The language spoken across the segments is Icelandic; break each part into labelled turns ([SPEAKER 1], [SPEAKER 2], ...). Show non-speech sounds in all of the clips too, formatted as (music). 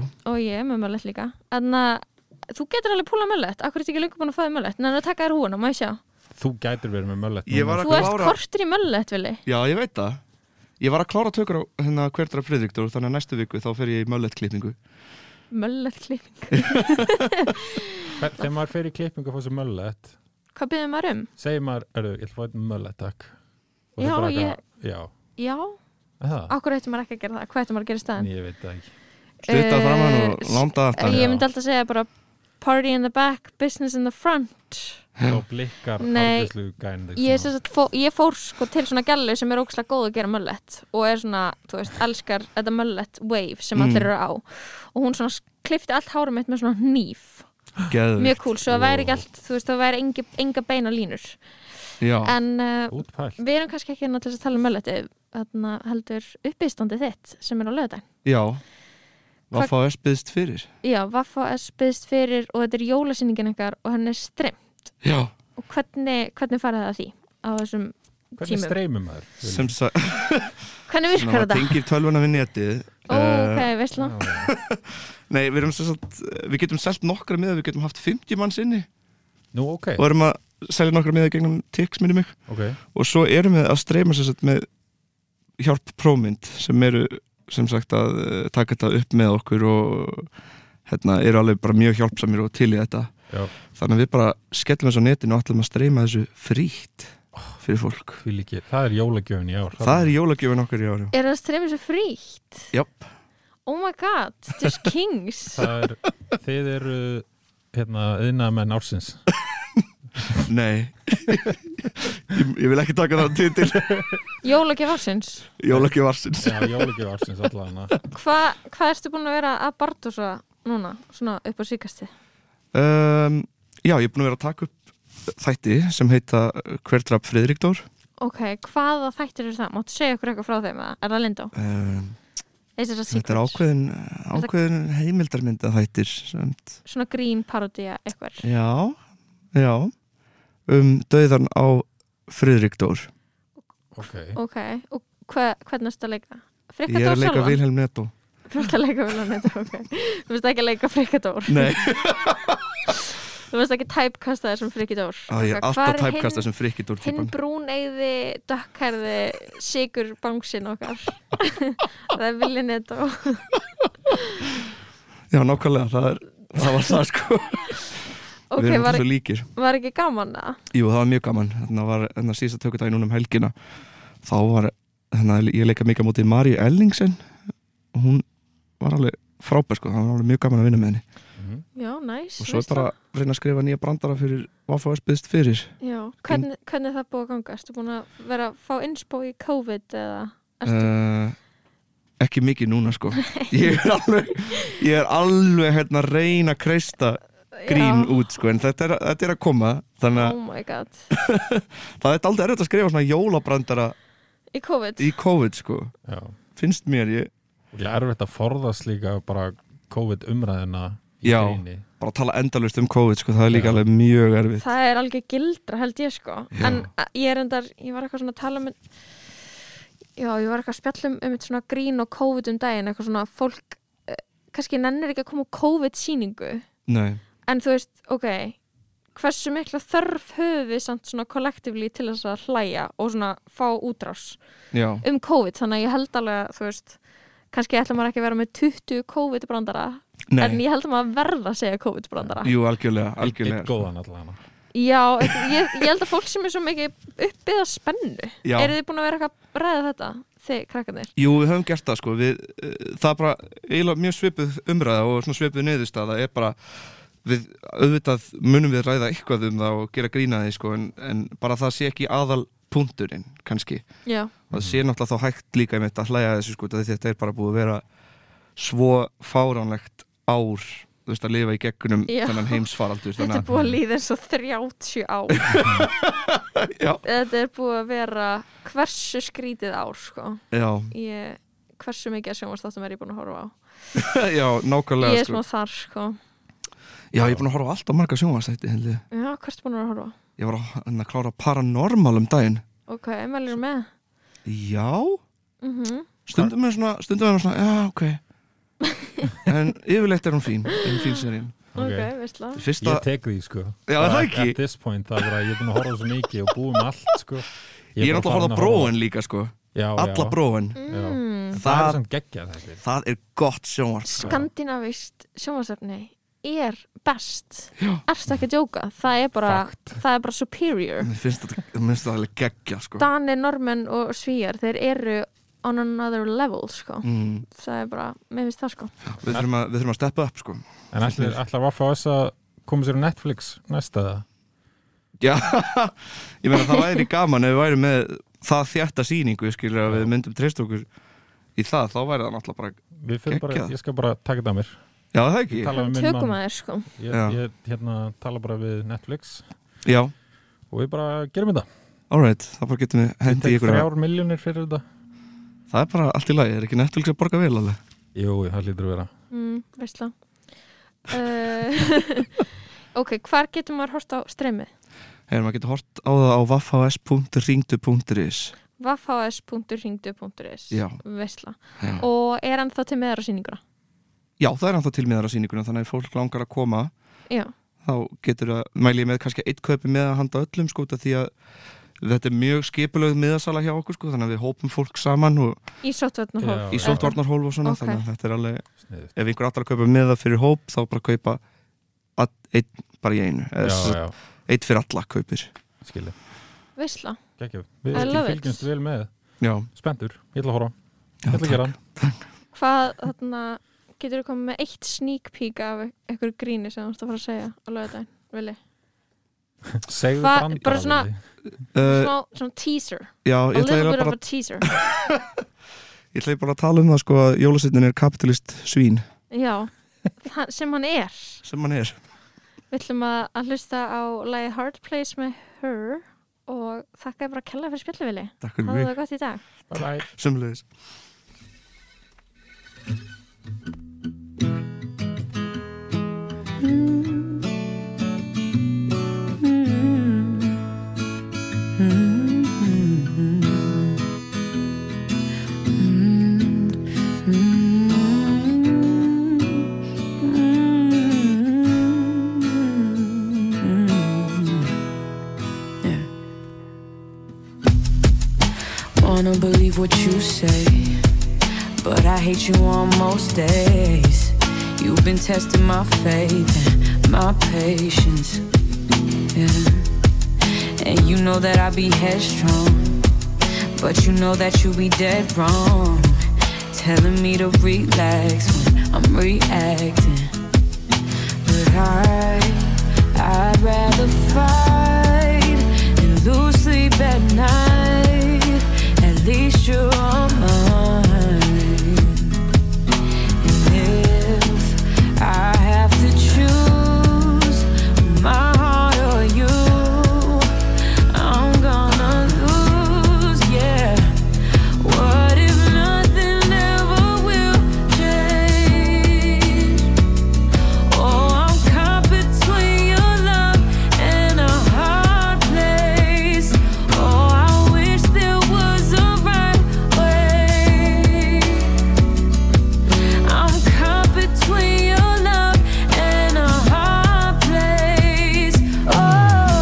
[SPEAKER 1] og ég er með möllet líka en þú getur alveg púla möllet akkur er þetta ekki lengur búin að fæða möllet en að taka þér húna, má ég sjá
[SPEAKER 2] Þú gætir verið með möllett
[SPEAKER 3] Ég
[SPEAKER 2] núna.
[SPEAKER 3] var að
[SPEAKER 1] þú ert
[SPEAKER 3] klára-
[SPEAKER 1] kortur í möllet, Vili
[SPEAKER 3] Já, ég veit það Ég var að klára tökur á hérna hverdra friðriktur þannig að næstu viku þá fer ég í möllet klippingu
[SPEAKER 1] möllet klipping,
[SPEAKER 2] Hver- Þegar maður fer í klippingu og fá sér möllett
[SPEAKER 1] hvað byrðum maður um?
[SPEAKER 2] segir maður, erðu, ég ætla að fá einn möllett takk Og
[SPEAKER 1] Já,
[SPEAKER 2] þau bara
[SPEAKER 1] ég-
[SPEAKER 2] eitthvað, Já,
[SPEAKER 1] já,
[SPEAKER 2] Er það?
[SPEAKER 1] akkur ættum maður ekki að gera það hvað ættum maður að gera í staðin?
[SPEAKER 2] En ég veit það ekki
[SPEAKER 3] Slutta
[SPEAKER 1] Eh,
[SPEAKER 3] framan og
[SPEAKER 1] s- eh,
[SPEAKER 3] landa aftan
[SPEAKER 1] ég myndi alltaf segja bara party in the back, business in the front
[SPEAKER 2] Þá blikkar
[SPEAKER 1] Nei,
[SPEAKER 2] algjörslu gæn
[SPEAKER 1] ég, sem sagt, fó, ég fór sko til svona gælu sem er ógslag góð að gera möllet og er svona, þú veist, elskar þetta möllet wave sem
[SPEAKER 3] Mm.
[SPEAKER 1] allir eru á og hún svona klifti allt hárum mitt með svona hníf
[SPEAKER 3] Geður
[SPEAKER 1] mjög cool, svo það væri ekki
[SPEAKER 2] Wow.
[SPEAKER 1] allt, þú veist, það væri enga, enga beina línur
[SPEAKER 3] Já,
[SPEAKER 1] en uh,
[SPEAKER 2] Útpælt
[SPEAKER 1] við erum kannski ekki hérna til þess að tala um mölleti þarna heldur uppistandi þitt sem er á lögðan
[SPEAKER 3] já
[SPEAKER 1] Hvað-
[SPEAKER 3] Hvað fá þess byggðist fyrir?
[SPEAKER 1] Já, Vaffa S byggðist fyrir og þetta er jólasýningin ykkar og hann er strem
[SPEAKER 3] Já,
[SPEAKER 1] og hvernig, hvernig farið það að því á þessum
[SPEAKER 2] Hvernig
[SPEAKER 1] tímum?
[SPEAKER 2] streymum maður?
[SPEAKER 3] sem sagt
[SPEAKER 1] Hvernig
[SPEAKER 3] Ná,
[SPEAKER 1] virkar þetta?
[SPEAKER 3] tengir tölvuna við netið
[SPEAKER 1] Ó,
[SPEAKER 3] Eh,
[SPEAKER 1] ok, veistla
[SPEAKER 3] Nei, við erum sem sagt Við getum selt nokkra miða, við getum haft 50 manns inni
[SPEAKER 2] Nú, ok,
[SPEAKER 3] og erum að selja nokkra miða gegnum Tix minni mig
[SPEAKER 2] ok
[SPEAKER 3] og svo erum við að streyma sem sagt með hjálp prómynd sem eru sem sagt að eh, taka þetta upp með okkur og hérna eru alveg bara mjög hjálpsamir og til í þetta
[SPEAKER 2] Já.
[SPEAKER 3] þannig að við bara skellum þessu á netinu og ætlum að streyma þessu frítt fyrir fólk.
[SPEAKER 2] Hvíl ekki, það er jólagjöfin í ár
[SPEAKER 3] Það er jólagjöfin okkur í ári
[SPEAKER 1] Er það stremið svo frítt?
[SPEAKER 3] Japp, það
[SPEAKER 1] Oh my god, just kings
[SPEAKER 2] það er, Þið eru hérna, yðnað menn ársins
[SPEAKER 3] nei (laughs) ég, ég vil ekki taka það til til
[SPEAKER 1] Jólagjöf ársins
[SPEAKER 3] jólagjöf varsins
[SPEAKER 2] Já, jólagjöf ársins allan
[SPEAKER 1] Hva, Hvað ertu búin að vera að barndósa núna, svona upp á síkasti?
[SPEAKER 3] um, Já, ég er búin að vera að taka upp þætti sem heita Hver draf Friðrikdór
[SPEAKER 1] Ok, hvaða þættir eru það? Máttu segja okkur eitthvað frá þeim eða? Er það Lindó?
[SPEAKER 3] um,
[SPEAKER 1] Þetta er
[SPEAKER 3] Þetta er ákveðin, ákveðin heimildarmynda þættir semt.
[SPEAKER 1] Svona grín parodía eitthvað
[SPEAKER 3] Já, já um döðan á Friðrik Dór
[SPEAKER 2] Ok,
[SPEAKER 1] Ok, og hva, hvernig ertu að leika?
[SPEAKER 3] Ég er
[SPEAKER 1] Frikkadór
[SPEAKER 3] að leika
[SPEAKER 1] sjálfan?
[SPEAKER 3] Vilhelm Netto
[SPEAKER 1] Þú ert að leika viljan þetta, ok. Þú veist ekki að leika frikadór.
[SPEAKER 3] Nei,
[SPEAKER 1] Þú veist ekki tæpkastaðir sem frikadór.
[SPEAKER 3] á, ég er alltaf tæpkasta sem Frikki Dór
[SPEAKER 1] Hinn
[SPEAKER 3] típan
[SPEAKER 1] brún eigði, dökkarði, sigur bangsin okkar. (laughs) það er viljin þetta og
[SPEAKER 3] Já, nákvæmlega, það, er, það var það sko
[SPEAKER 1] ok,
[SPEAKER 3] Við erum
[SPEAKER 1] var,
[SPEAKER 3] alltaf líkir
[SPEAKER 1] var ekki gaman það?
[SPEAKER 3] Jú, það var mjög gaman, þannig var þannig síðast að tökudagi núna um helgina þá var, þannig að ég leika mikið á móti Maríu Ellingsen og hún var alveg frábær sko, það var alveg mjög gaman að vinna með henni
[SPEAKER 2] Mhm.
[SPEAKER 1] Já, næs.
[SPEAKER 3] og svo er
[SPEAKER 1] veisla.
[SPEAKER 3] bara að reyna að skrifa nýja brandara fyrir Vaffa Öspiðst fyrir
[SPEAKER 1] Já, hvernig, hvernig er það búið að ganga? Erstu búin að vera að fá innspó í COVID eða? Ertu,
[SPEAKER 3] uh, ekki mikið núna sko ég er alveg ég er alveg hérna að reyna að kreista grín
[SPEAKER 1] já,
[SPEAKER 3] út sko en þetta er, þetta er að koma þannig að
[SPEAKER 1] Oh my god.
[SPEAKER 3] það er aldrei erfitt að skrifa svona jólabrandara
[SPEAKER 1] Í COVID?
[SPEAKER 3] í COVID sko
[SPEAKER 2] já
[SPEAKER 3] finnst mér ég
[SPEAKER 2] Og er þetta að forðast líka bara COVID umræðina í
[SPEAKER 3] Já.
[SPEAKER 2] gríni
[SPEAKER 3] bara að tala endalust um COVID sko það er líka
[SPEAKER 2] Já.
[SPEAKER 3] alveg mjög erfitt
[SPEAKER 1] Það er alveg gildra held ég sko
[SPEAKER 3] Já.
[SPEAKER 1] En a- ég er endar, ég var eitthvað svona að tala með Já, ég var eitthvað að spjallum um eitt svona grín og COVID um daginn eitthvað svona fólk eh, kannski nennir ekki að koma á COVID-sýningu
[SPEAKER 3] nei
[SPEAKER 1] en þú veist, ok hversu mikla þörf höfum við samt svona kollektífli til þess að hlæja og svona fá útrás
[SPEAKER 3] já
[SPEAKER 1] um COVID þannig að ég held alveg að þú veist kannski ætla maður ekki að vera með 20 COVID-brandara en
[SPEAKER 3] nei
[SPEAKER 1] ég held að maður verða að segja COVID-brandara
[SPEAKER 3] jú algjörlega
[SPEAKER 2] Eitt
[SPEAKER 3] algjörlega sko.
[SPEAKER 2] góðan allan
[SPEAKER 1] Já, ég, ég held að fólk sem er svo mikið uppbyggða spennu
[SPEAKER 3] já
[SPEAKER 1] Eru þið búin að vera eitthvað að ræða þetta, þið krakkanir?
[SPEAKER 3] jú við höfum gert það sko við uh, það er bara eiginlega mjög svipuð umræða og svona svipuð niðurstaða er bara við auðvitað munum við ræða eitthvað um það og gera grína því sko en, en bara það sé ekki aðal punkturinn kannski
[SPEAKER 1] Já,
[SPEAKER 3] og það sé náttúrulega þá hægt líka einmitt að hlæja að þessu sko því þetta er bara búið að vera svo fáránlegt ár þú veist að lifa í gegnum
[SPEAKER 1] Já.
[SPEAKER 3] þennan heimsfaraldur
[SPEAKER 1] þetta er
[SPEAKER 3] þannig
[SPEAKER 1] búið að líða eins og 30 á
[SPEAKER 3] (laughs) að já,
[SPEAKER 1] Þetta er búið að vera hversu skrítið ár, sko
[SPEAKER 3] já, (laughs)
[SPEAKER 1] ég, Hversu mikið að sjónvastáttum er ég búin að horfa á
[SPEAKER 3] já, nákvæmlega
[SPEAKER 1] Ég er
[SPEAKER 3] sko.
[SPEAKER 1] smá þar, sko
[SPEAKER 3] já, ég er búin að horfa á alltaf marga sjónvarsætti ég
[SPEAKER 1] Já, hvert er búin að horfa á?
[SPEAKER 3] var að, hérna, að klára paranormal um daginn
[SPEAKER 1] Ok, mælirðu með?
[SPEAKER 3] já,
[SPEAKER 1] Mm
[SPEAKER 3] stundum er svona stundum er svona, já, ok en yfirleitt er hún fín, er hún fín serið
[SPEAKER 2] Ok.
[SPEAKER 1] ok, veistla
[SPEAKER 3] Fyrsta,
[SPEAKER 2] Ég tek því sko
[SPEAKER 3] já er það
[SPEAKER 2] Bara
[SPEAKER 3] ekki
[SPEAKER 2] At this point, það var að ég er búin að horfa svo mikið og búið með allt sko
[SPEAKER 3] Ég er
[SPEAKER 2] bara
[SPEAKER 3] náttúrulega að
[SPEAKER 2] farin
[SPEAKER 3] horfa á bróin líka sko
[SPEAKER 2] já,
[SPEAKER 3] Alla
[SPEAKER 2] já.
[SPEAKER 3] bróin
[SPEAKER 1] mm,
[SPEAKER 2] Það er
[SPEAKER 3] Það,
[SPEAKER 2] samt geggjað þetta
[SPEAKER 3] það er gott sjónvarp sko.
[SPEAKER 1] skandinavist sjómasefni er best
[SPEAKER 3] Já.
[SPEAKER 1] erstu ekki að djóka það er bara, það er bara superior
[SPEAKER 3] Mér finnst þetta, mér finnst þetta alveg geggja sko
[SPEAKER 1] Danir, Normenn og Svíjar þeir eru on another level sko.
[SPEAKER 3] mm,
[SPEAKER 1] það er bara, mér finnst það sko
[SPEAKER 3] við, þurfum að, við þurfum að steppa upp sko
[SPEAKER 2] En ætlar, ætlar Vaffa S að koma sér á Netflix næsta það?
[SPEAKER 3] Já, (laughs) ég meina það væri gaman ef við væri með það þjætta sýningu ég skilur að við myndum treyst okkur í það, þá væri það náttúrulega bara
[SPEAKER 2] Við finnum bara,
[SPEAKER 3] Geggjað.
[SPEAKER 2] ég skal bara taka þetta að mér
[SPEAKER 3] Já, það ekki,
[SPEAKER 2] Tala við minn
[SPEAKER 1] tökum
[SPEAKER 2] mann
[SPEAKER 1] að þér sko
[SPEAKER 2] Ég,
[SPEAKER 3] Já.
[SPEAKER 2] ég hérna, tala bara við Netflix
[SPEAKER 3] já,
[SPEAKER 2] og við bara gerum þetta
[SPEAKER 3] alright þá bara getum við
[SPEAKER 2] Ég
[SPEAKER 3] hendi
[SPEAKER 2] tek
[SPEAKER 3] ykkur að
[SPEAKER 2] þrjár miljónir fyrir þetta
[SPEAKER 3] það er bara allt í lagi, er ekki Netflix að borga vel alveg
[SPEAKER 2] Jú, það hlýtur að vera
[SPEAKER 1] mm, veistla uh, (laughs) ok, hvar getur maður hort á streymið?
[SPEAKER 3] hefur maður getur hort á það á waffas.ringdu.is
[SPEAKER 1] vafhs.ringdu.is
[SPEAKER 3] Já.
[SPEAKER 1] veistla
[SPEAKER 3] Já.
[SPEAKER 1] og er hann þá til meðar á sýninguna?
[SPEAKER 3] Já, það er ennþá tilmiðar á sýninguna þannig að ef fólk langar að koma
[SPEAKER 1] já,
[SPEAKER 3] þá getur það, mæli ég með kannski eitt kaupi með að handa öllum sko, út af því að þetta er mjög skipulögð miðasala hjá okkur sko, þannig að við hópum fólk saman og
[SPEAKER 1] í sóttvöldna
[SPEAKER 2] Já.
[SPEAKER 1] hólf
[SPEAKER 3] í sóttvarnarhólf og svona
[SPEAKER 1] Ok.
[SPEAKER 3] þannig að þetta er alveg,
[SPEAKER 2] Sniðugt.
[SPEAKER 3] ef einhver allar kaupa miða fyrir hóp, þá bara kaupa all, einn bara í einu
[SPEAKER 2] Já,
[SPEAKER 3] eða
[SPEAKER 2] já,
[SPEAKER 3] eitt fyrir alla kaupir
[SPEAKER 2] skilja
[SPEAKER 1] veistla,
[SPEAKER 2] Gekjum, við
[SPEAKER 1] I love it.
[SPEAKER 2] fylgjumst vel með
[SPEAKER 3] Já,
[SPEAKER 2] Spendur, ég ætla að horfa,
[SPEAKER 3] já
[SPEAKER 2] ég ætla að gera hann
[SPEAKER 1] hvað þarna getur þú komið með eitt sneak peek af einhverju gríni sem þú ætti að fara að segja á lögadaginn, Vili?
[SPEAKER 2] Segðu
[SPEAKER 1] Hva-
[SPEAKER 2] brandara
[SPEAKER 1] bara svona-
[SPEAKER 2] Lilli.
[SPEAKER 3] uh,
[SPEAKER 1] Smá, svona teaser,
[SPEAKER 3] Já,
[SPEAKER 1] a
[SPEAKER 3] ég ætla
[SPEAKER 1] little
[SPEAKER 3] eiginlega
[SPEAKER 1] bit of
[SPEAKER 3] bara,
[SPEAKER 1] a teaser
[SPEAKER 3] ég ætla eiginlega bara að tala um það sko að jólasetnin er kapitalist svín
[SPEAKER 1] Já, hann- sem hann er
[SPEAKER 3] sem hann er
[SPEAKER 1] Við ætlum að, að hlusta á lagið Hard Place með Her og þakka þér bara að kella fyrir spjalluvili
[SPEAKER 3] Takk fyrir
[SPEAKER 1] Háðu
[SPEAKER 3] mig,
[SPEAKER 1] það gott í dag
[SPEAKER 2] Bye bye
[SPEAKER 3] sömulegis
[SPEAKER 4] Yeah. Wanna believe what you say, but I hate you on most days. You've been testing my faith and my patience. Yeah. And you know that I be headstrong, but you know that you be dead wrong. Telling me to relax when I'm reacting. But I, I'd rather fight and lose sleep at night. At least you're on mine. And if I have to choose my heart or you, I'm gonna lose, yeah. What if nothing ever will change? Oh, I'm caught between your love and a hard place. Oh, I wish there was a right way. I'm caught between your love and a hard place. Oh.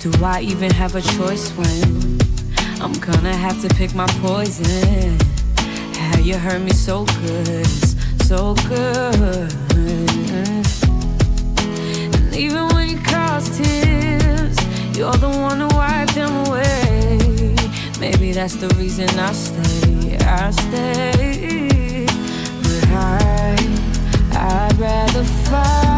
[SPEAKER 4] Do I even have a choice when I'm gonna have to pick my poison? How you hurt me so good, so good. And even when you cause tears, you're the one to wipe them away. Maybe that's the reason I stay, I stay. But I, I'd rather fight. Oh, Oh,